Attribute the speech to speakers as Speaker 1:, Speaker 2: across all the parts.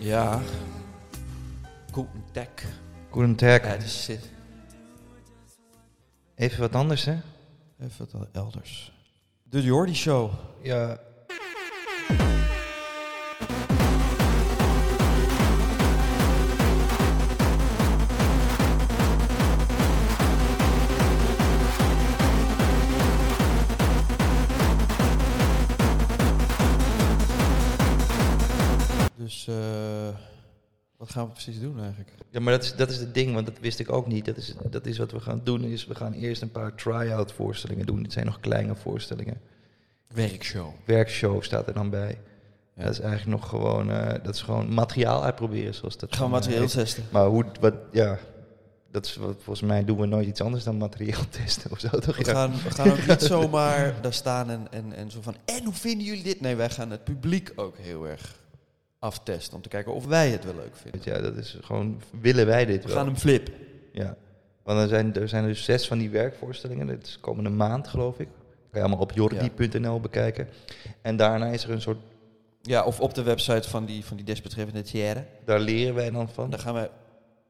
Speaker 1: Ja. Guten Tag.
Speaker 2: Goedendag.
Speaker 1: Ja, dus zit
Speaker 2: Even wat anders, hè?
Speaker 1: even wat elders. De Jordi Show.
Speaker 2: Ja.
Speaker 1: Dus eh, wat gaan we precies doen eigenlijk?
Speaker 2: Ja, maar dat is, dat is het ding, want dat wist ik ook niet. Dat is, dat is wat we gaan doen, is we gaan eerst een paar try-out voorstellingen doen. Dit zijn nog kleine voorstellingen.
Speaker 1: Werkshow.
Speaker 2: Werkshow staat er dan bij.
Speaker 1: Ja.
Speaker 2: Dat is eigenlijk nog gewoon, eh, dat is gewoon materiaal uitproberen, zoals
Speaker 1: Gaan
Speaker 2: dat
Speaker 1: we
Speaker 2: dan, eh,
Speaker 1: materieel
Speaker 2: heet.
Speaker 1: testen.
Speaker 2: Maar hoe, wat, ja, dat is wat, volgens mij doen we nooit iets anders dan materiaal testen of zo, toch?
Speaker 1: We
Speaker 2: Ja.
Speaker 1: gaan, we gaan ook niet zomaar daar staan en, en, en zo van... En hoe vinden jullie dit? Nee, wij gaan het publiek ook heel erg aftesten. Om te kijken of wij het wel leuk vinden.
Speaker 2: Ja, dat is gewoon, willen wij dit
Speaker 1: We
Speaker 2: wel?
Speaker 1: gaan hem flip.
Speaker 2: Ja, want er zijn, er zijn dus zes van die werkvoorstellingen. Dat is komende maand, geloof ik. Kan je allemaal op jordi.nl bekijken. En daarna is er een soort...
Speaker 1: Ja, of op de website van die, van die desbetreffende tière.
Speaker 2: Daar leren wij dan van.
Speaker 1: Daar gaan wij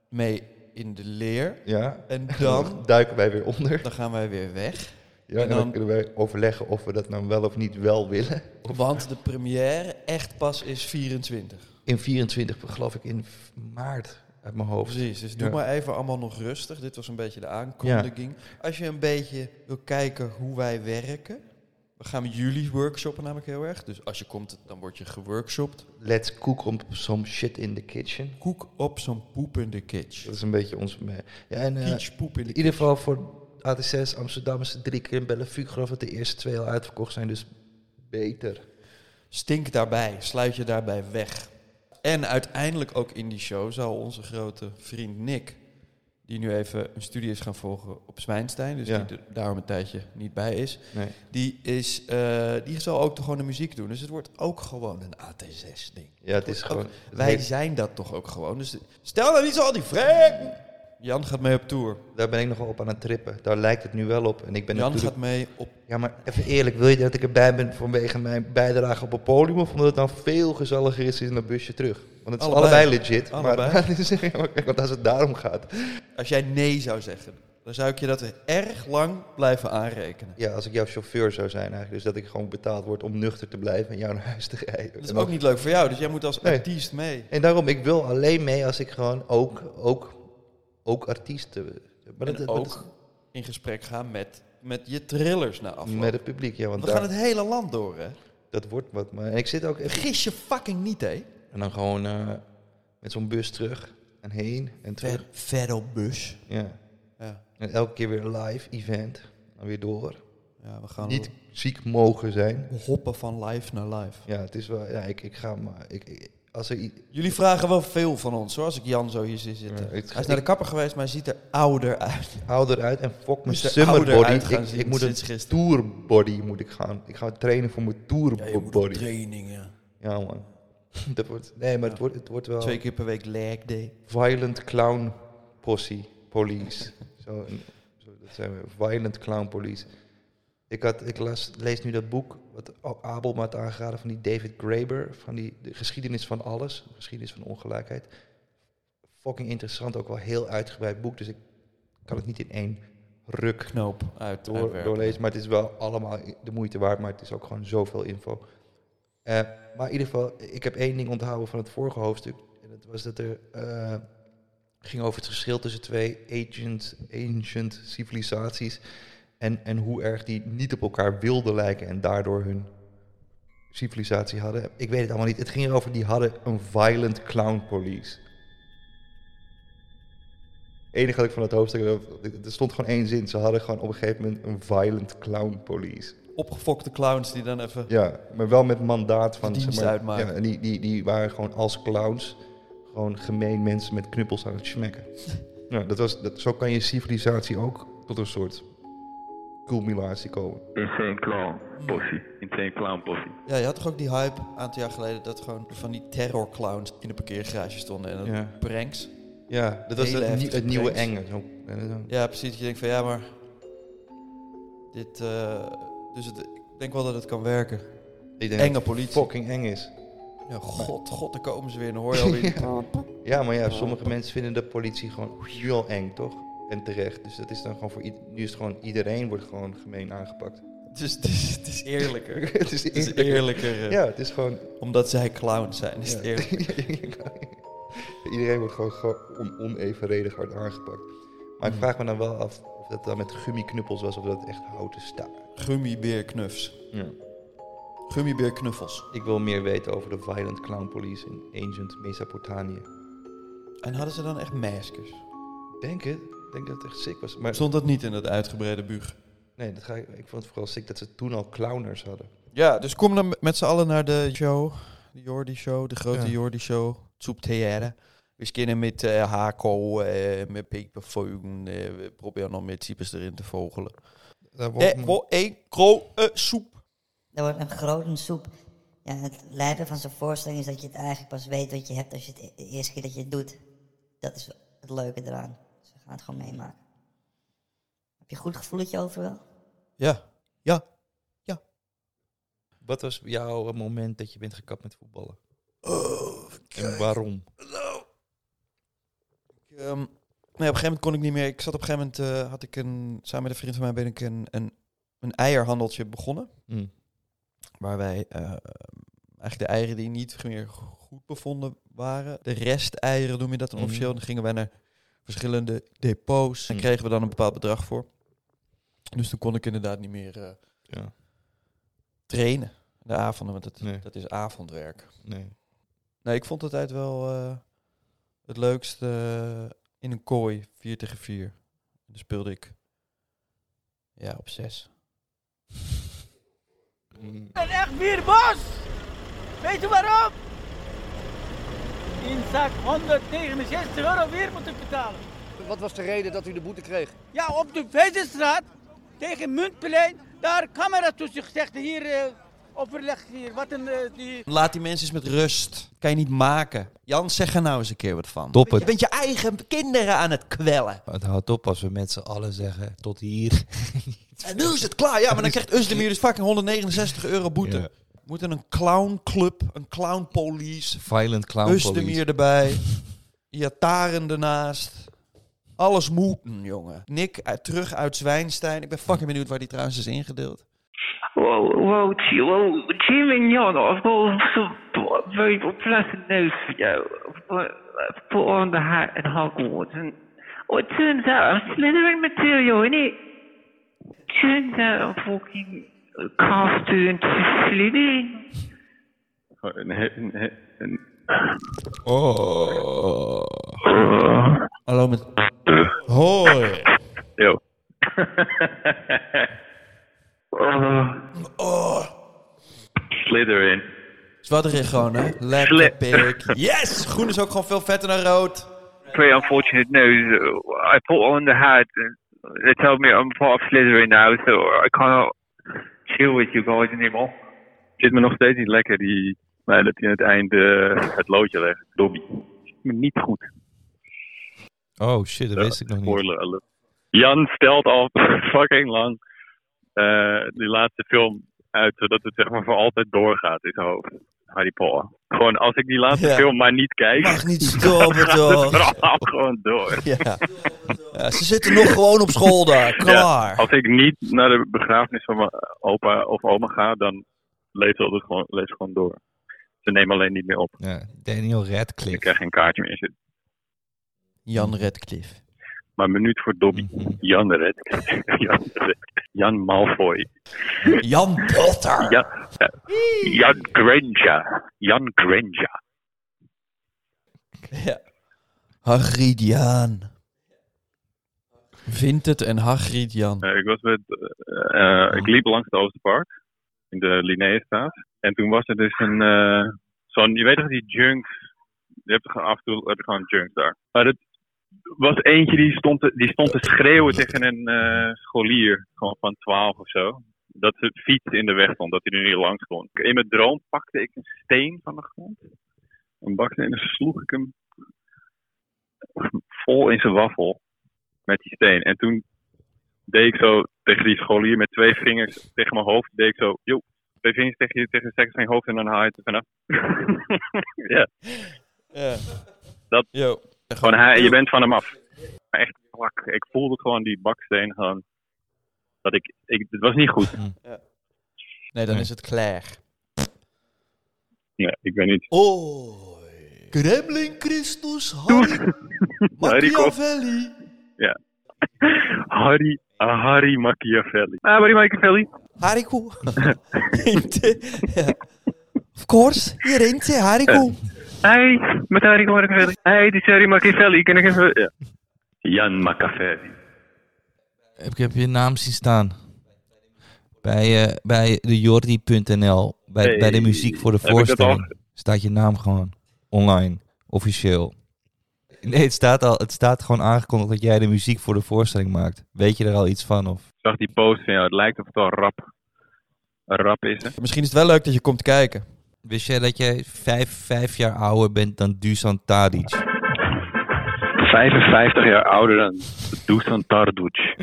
Speaker 1: mee in de leer.
Speaker 2: Ja.
Speaker 1: En
Speaker 2: Dan
Speaker 1: dan,
Speaker 2: duiken wij weer onder.
Speaker 1: dan gaan wij weer weg.
Speaker 2: Ja, en
Speaker 1: en
Speaker 2: dan,
Speaker 1: dan-
Speaker 2: kunnen wij overleggen of we dat nou wel of niet wel willen.
Speaker 1: Want de première echt pas is 24.
Speaker 2: In 24, geloof ik, in v- maart uit mijn hoofd.
Speaker 1: Precies, dus doe
Speaker 2: Ja.
Speaker 1: maar even allemaal nog rustig. Dit was een beetje de aankondiging. Als je een beetje wil kijken hoe wij werken. We gaan jullie workshoppen namelijk heel erg. Dus als je komt, dan word je geworkshopt.
Speaker 2: Let's cook on some shit in the kitchen.
Speaker 1: Koek op zo'n poep in de kitsch.
Speaker 2: Dat is een beetje ons... me- Ja, en, eh,
Speaker 1: Kitsch poep in de
Speaker 2: in ieder geval voor AT6 Amsterdam is het drie keer in Bellevue. Ik geloof dat de eerste twee al uitverkocht zijn, dus beter.
Speaker 1: Stink daarbij, sluit je daarbij weg. En uiteindelijk ook in die show zou onze grote vriend Nick, die nu even een studie is gaan volgen op Zwijnstein, dus
Speaker 2: Ja.
Speaker 1: die er daarom een tijdje niet bij is,
Speaker 2: Nee.
Speaker 1: die, is, eh, die zal ook gewoon de muziek doen. Dus het wordt ook gewoon een AT6-ding.
Speaker 2: Ja, het is gewoon.
Speaker 1: Wij zijn dat toch ook gewoon. Dus stel nou niet zo al die vragen. Jan gaat mee op tour.
Speaker 2: daar ben ik nogal op aan het trippen. Daar lijkt het nu wel op. En ik ben
Speaker 1: Jan
Speaker 2: natuurlijk.
Speaker 1: gaat mee op
Speaker 2: Ja, maar even eerlijk, wil je dat ik erbij ben vanwege mijn bijdrage op het podium? Of omdat het dan veel gezelliger is in een busje terug? Want het is allebei,
Speaker 1: Allebei.
Speaker 2: legit.
Speaker 1: Allebei.
Speaker 2: Maar, het is- ja, maar kijk, want als het daarom gaat.
Speaker 1: Als jij nee zou zeggen, dan zou ik je dat erg lang blijven aanrekenen.
Speaker 2: Ja, als ik jouw chauffeur zou zijn eigenlijk. Dus dat ik gewoon betaald word om nuchter te blijven en jou naar huis te rijden.
Speaker 1: Dat is
Speaker 2: En dan-
Speaker 1: ook niet leuk voor jou, dus jij moet als
Speaker 2: Nee.
Speaker 1: artiest mee.
Speaker 2: En daarom, ik wil alleen mee als ik gewoon ook, ook, ook artiesten. Maar
Speaker 1: en ook in gesprek gaan met, met je thrillers na afloop.
Speaker 2: met het publiek, ja. Want
Speaker 1: We
Speaker 2: daar,
Speaker 1: gaan het hele land door, hè?
Speaker 2: dat wordt wat. Maar en ik zit ook echt
Speaker 1: Gis je fucking niet, hè?
Speaker 2: En dan gewoon eh, met zo'n bus terug en heen en terug.
Speaker 1: op bus.
Speaker 2: Ja.
Speaker 1: Ja.
Speaker 2: En elke keer weer een live event. Dan weer door.
Speaker 1: ja, we gaan
Speaker 2: Niet ziek mogen zijn.
Speaker 1: hoppen van live naar live.
Speaker 2: Ja, het is wel. Ja, ik, ik ga maar. Ik, ik- als er, i-
Speaker 1: Jullie vragen wel veel van ons, hoor, als ik Jan zo hier zie zitten.
Speaker 2: Ja, ik-
Speaker 1: Hij is naar de kapper geweest, maar hij ziet er ouder uit.
Speaker 2: hou eruit en fuck mijn
Speaker 1: Moest er
Speaker 2: summerbody.
Speaker 1: ouder uit
Speaker 2: Ik,
Speaker 1: gaan
Speaker 2: ik,
Speaker 1: zien
Speaker 2: moet een
Speaker 1: sinds gisteren.
Speaker 2: tourbody moet ik gaan. Ik ga trainen voor mijn tourbody. Ja,
Speaker 1: trainingen.
Speaker 2: man. Dat wordt, nee, maar het, wordt, het wordt wel
Speaker 1: Twee keer per week leg day.
Speaker 2: violent clown possie, police. zo, een- zo, dat zijn we, violent clown police. Ik, had, ik las, lees nu dat boek wat A- Abel me had aangeraden van die David Graeber, van die de geschiedenis van alles, de geschiedenis van ongelijkheid. Fucking interessant, ook wel heel uitgebreid boek, dus ik kan het niet in één ruk
Speaker 1: Knoop uit
Speaker 2: door,
Speaker 1: uitwerpen.
Speaker 2: doorlezen. Maar het is wel allemaal i- de moeite waard, maar het is ook gewoon zoveel info. Eh, maar in ieder geval, ik heb één ding onthouden van het vorige hoofdstuk. En dat was dat er eh, ging over het verschil tussen twee ancient, ancient civilisaties. En, en hoe erg die niet op elkaar wilden lijken en daardoor hun civilisatie hadden. Ik weet het allemaal niet. Het ging erover, die hadden een violent clown police. Het enige wat ik van het hoofdstuk... Er stond gewoon één zin. Ze hadden gewoon op een gegeven moment een violent clown police.
Speaker 1: Opgefokte clowns die dan even...
Speaker 2: Ja, maar wel met mandaat van...
Speaker 1: De dienst
Speaker 2: maar,
Speaker 1: uitmaken.
Speaker 2: Ja, en die, die, die waren gewoon als clowns... gewoon gemeen mensen met knuppels aan het smekken. ja, dat was, dat, zo kan je civilisatie ook tot een soort culminatie komen.
Speaker 3: Insane Clown Posse. Insane Clown Posse.
Speaker 1: Ja, je had toch ook die hype een aantal jaar geleden dat gewoon van die terrorclowns in de parkeergarage stonden en dat
Speaker 2: Ja.
Speaker 1: pranks.
Speaker 2: Ja, dat was
Speaker 1: Hele
Speaker 2: het, nie-
Speaker 1: heftige
Speaker 2: het nieuwe
Speaker 1: pranks.
Speaker 2: enge. Zo, eh, zo.
Speaker 1: Ja, precies. Dat je denkt van ja, maar dit. eh, dus het, ik denk wel dat het kan werken.
Speaker 2: Ik denk dat
Speaker 1: Enge
Speaker 2: het
Speaker 1: politie.
Speaker 2: fucking eng is.
Speaker 1: Ja, god, god, daar komen ze weer. Dan hoor je alweer... die-
Speaker 2: Ja, maar ja, sommige mensen vinden de politie gewoon heel eng, toch? En terecht. Dus dat is dan gewoon voor iedereen. Nu is het gewoon iedereen wordt gewoon gemeen aangepakt.
Speaker 1: Het is, het, is, het is eerlijker.
Speaker 2: het is
Speaker 1: Het is
Speaker 2: eerlijk.
Speaker 1: eerlijker. eh,
Speaker 2: Ja, het is gewoon.
Speaker 1: Omdat zij clowns zijn, is het
Speaker 2: ja.
Speaker 1: eerlijk.
Speaker 2: iedereen wordt gewoon, gewoon on- onevenredig hard aangepakt. Maar ik
Speaker 1: Hmm.
Speaker 2: vraag me dan wel af of dat dan met gummiknuppels was of dat echt houten staart.
Speaker 1: Gummibeerknufs.
Speaker 2: Ja.
Speaker 1: Gummibeerknuffels.
Speaker 2: Ik wil meer weten over de Violent Clown Police in Ancient Mesopotamië.
Speaker 1: En hadden ze dan echt maskers?
Speaker 2: Denk het. Ik denk dat het echt sick was. Maar
Speaker 1: Stond dat niet in dat uitgebreide buug?
Speaker 2: nee, dat ga ik, ik vond het vooral sick dat ze toen al clowners hadden.
Speaker 1: Ja, dus kom dan met z'n allen naar de show. De Jordi Show, de grote
Speaker 2: Ja.
Speaker 1: Jordi Show. Zoep Theater. We beginnen met eh Hako, eh, met Peek Parfum. eh, we proberen nog meer types erin te vogelen.
Speaker 2: Daar wordt
Speaker 1: Eh,
Speaker 2: me-
Speaker 1: voor één grote soep.
Speaker 4: Dat wordt een grote soep. Ja, het lijpen van zo'n voorstelling is dat je het eigenlijk pas weet wat je hebt als je het e- de eerste keer dat je het doet. Dat is het leuke eraan. Dus we gaan het gewoon meemaken. Heb je een goed gevoeletje over wel?
Speaker 1: Ja.
Speaker 2: Wat was jouw eh, moment dat je bent gekapt met voetballen?
Speaker 1: Oh,
Speaker 2: en waarom?
Speaker 1: Ik, ehm, nee, op een gegeven moment kon ik niet meer. Ik zat op een gegeven moment, eh, had ik een, samen met een vriend van mij ben ik een, een, een eierhandeltje begonnen.
Speaker 2: Hm.
Speaker 1: Waar wij eh, eigenlijk de eieren die niet meer goed bevonden waren. De resteieren noem je dat dan
Speaker 2: Mhm.
Speaker 1: officieel. Dan gingen wij naar verschillende depots. En
Speaker 2: Mhm.
Speaker 1: kregen we dan een bepaald bedrag voor. Dus toen kon ik inderdaad niet meer eh,
Speaker 2: Ja,
Speaker 1: trainen. De avonden, want dat,
Speaker 2: Nee.
Speaker 1: dat is avondwerk.
Speaker 2: nee.
Speaker 1: Nee, ik vond het tijd wel eh, het leukste eh, in een kooi, 4 tegen 4. En dan speelde ik ja, op 6.
Speaker 5: ben echt weer bos. Weet je waarom? In zak 169 euro weer moeten betalen.
Speaker 6: Wat was de reden dat u de boete kreeg?
Speaker 5: Ja, op de Vezerstraat tegen Muntplein, daar camera tussen gezegd. Hier, eh, overleg hier, wat een eh, die...
Speaker 1: Laat die mensen eens met rust. Kan je niet maken. Jan, zeg er nou eens een keer wat van.
Speaker 2: Top het.
Speaker 1: Je bent je eigen kinderen aan het kwellen.
Speaker 2: Het houdt op als we met z'n allen zeggen tot hier.
Speaker 1: En nu is het klaar. Ja, maar dan krijgt Özdemir dus fucking 169 euro boete.
Speaker 2: Ja.
Speaker 1: We moeten een clownclub, een clownpolice,
Speaker 2: Violent Clown Police.
Speaker 1: Özdemir erbij. Iataren ernaast. Alles moeten, jongen. Nick uit- terug uit Zwijnstein. Ik ben fucking benieuwd waar die trouwens is ingedeeld.
Speaker 7: Wow, wow, gee, wow, gee mignon, vol, vol, very pleasant news for you. Put- Put on the hat and Hogwarts, and oh, it turns out I'm slithering material, innit? Turns out I'm fucking cast into slithering.
Speaker 3: Oh, een, he- een, he- een,
Speaker 1: Hallo met... Hoi.
Speaker 3: yo.
Speaker 7: Oh.
Speaker 3: Slytherin.
Speaker 1: Zwadderig gewoon, hè? Lekker
Speaker 3: Slim.
Speaker 1: pik. Yes! Groen is ook gewoon veel vetter dan rood.
Speaker 3: Very unfortunate news. I put on the hat. And they told me I'm part of Slytherin now, so I cannot chill with you guys anymore.
Speaker 8: zit me nog steeds niet lekker die, nee, dat hij aan het eind eh, het loodje legt. Dobby. Zit me niet goed.
Speaker 2: Oh shit, dat wist ik nog niet.
Speaker 8: Spoiler alert. Jan stelt al fucking lang eh, die laatste film uit, zodat het zeg maar voor altijd doorgaat in zijn hoofd. Harry Potter. Gewoon als ik die laatste
Speaker 1: Ja.
Speaker 8: film maar niet kijk,
Speaker 1: Mag niet stoppen,
Speaker 8: gaat het
Speaker 1: toch?
Speaker 8: verhaal gewoon door.
Speaker 1: Ja. Ja, ze zitten nog gewoon op school daar. Klaar.
Speaker 8: Als ik niet naar de begrafenis van mijn opa of oma ga, dan leeft het gewoon, leeft het gewoon door. Ze nemen alleen niet meer op.
Speaker 2: Ja, Daniel
Speaker 8: Ik eh,
Speaker 2: Radcliffe.
Speaker 8: krijg geen kaartje meer. zitten.
Speaker 1: Jan Redcliffe.
Speaker 8: Maar minuut voor Dobby.
Speaker 2: Mhm.
Speaker 8: Jan de Red. Jan de Red. Jan Malfoy.
Speaker 1: Jan Potter.
Speaker 8: Jan, eh, Jan Granger. Jan Granger.
Speaker 1: Ja. Hagridiaan. Vindt het en Hagridian.
Speaker 8: Eh, ik was met... eh, eh, ik liep langs het Oosterpark. In de Linnéestraat. En toen was er dus een... eh, Zo'n... Je weet toch die junks... Je hebt er gewoon af en toe heb je gewoon junks daar. Maar dat was eentje die stond te, die stond te schreeuwen tegen een eh, scholier. Gewoon van 12 of zo. Dat zijn fiets in de weg stond. Dat hij er niet langs kon. In mijn droom pakte ik een steen van de grond. Een baksteen en dan sloeg ik hem vol in zijn waffel met die steen. En toen deed ik zo tegen die scholier met twee vingers tegen mijn hoofd, deed ik zo, joh, twee vingers tegen je, tegen seks geen hoofd en dan haal je het er vanaf. ja,
Speaker 1: Ja.
Speaker 8: Dat-
Speaker 1: Yo.
Speaker 8: gewoon hij, je bent van hem af. Maar Echt, wak, ik voelde gewoon die baksteen gewoon. Dat ik, ik, het was niet goed.
Speaker 1: Nee, dan
Speaker 2: Nee.
Speaker 1: is het klaar.
Speaker 8: Ja, ik weet niet.
Speaker 1: Oh. Kremlin Christus, Harry Machiavelli.
Speaker 8: Harry, ah, Harry Machiavelli. Ah, Harry Machiavelli.
Speaker 1: Hariku. Inte. Ja. Of course, hier inte Hariku.
Speaker 8: Hey, met Harry Machiavelli. Hey, dit is Harry Machiavelli. Kan ik even... Ja. Jan Machiavelli.
Speaker 2: Heb Ik heb je naam zien staan. Bij, eh, bij de Jordi.nl. Bij,
Speaker 8: Hey,
Speaker 2: bij de muziek voor de
Speaker 8: heb ik dat
Speaker 2: voorstelling. Staat je naam gewoon online. Officieel. Nee, het staat, al, het staat gewoon aangekondigd dat jij de muziek voor de voorstelling maakt. Weet je er al iets van? Of?
Speaker 8: Ik zag die post en ja, het lijkt of het al rap, rap is. Hè?
Speaker 1: Misschien is het wel leuk dat je komt kijken.
Speaker 2: Wist jij dat jij vijf, vijf jaar ouder bent dan Dusan Tadic?
Speaker 8: 55 jaar ouder dan Dusan Tarduc.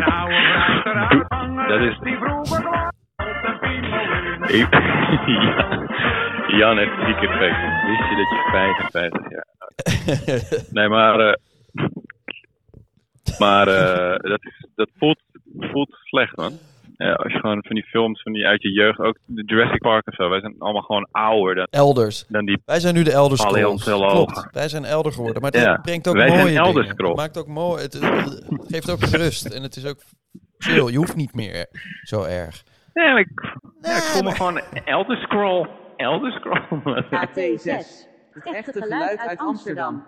Speaker 8: Doe- Dat is. Ik- Ja. Jan heeft drie keer gek. Wist je dat je 55 jaar. oud- Nee, maar. eh, maar eh, dat, is- dat voelt, voelt slecht, man. Ja, als je gewoon van die films van die uit je jeugd, ook de Jurassic Park en zo, wij zijn allemaal gewoon ouder dan,
Speaker 1: Elders.
Speaker 8: dan die.
Speaker 1: Wij zijn nu de Elder
Speaker 8: Allee,
Speaker 1: Scrolls.
Speaker 8: ons wel
Speaker 1: Klopt.
Speaker 8: hoger.
Speaker 1: Wij zijn elder geworden. Maar het
Speaker 8: Ja.
Speaker 1: brengt ook
Speaker 8: Wij zijn
Speaker 1: mooie
Speaker 8: Elder
Speaker 1: dingen.
Speaker 8: Scroll.
Speaker 1: Het maakt ook mooi. Het, het geeft ook rust. En het is ook chill. Je hoeft niet meer zo erg.
Speaker 8: Nee, maar ik, ja, ik voel me gewoon Elder Scroll. Elder Scroll. man.
Speaker 9: AT6. Het echte geluid uit Amsterdam.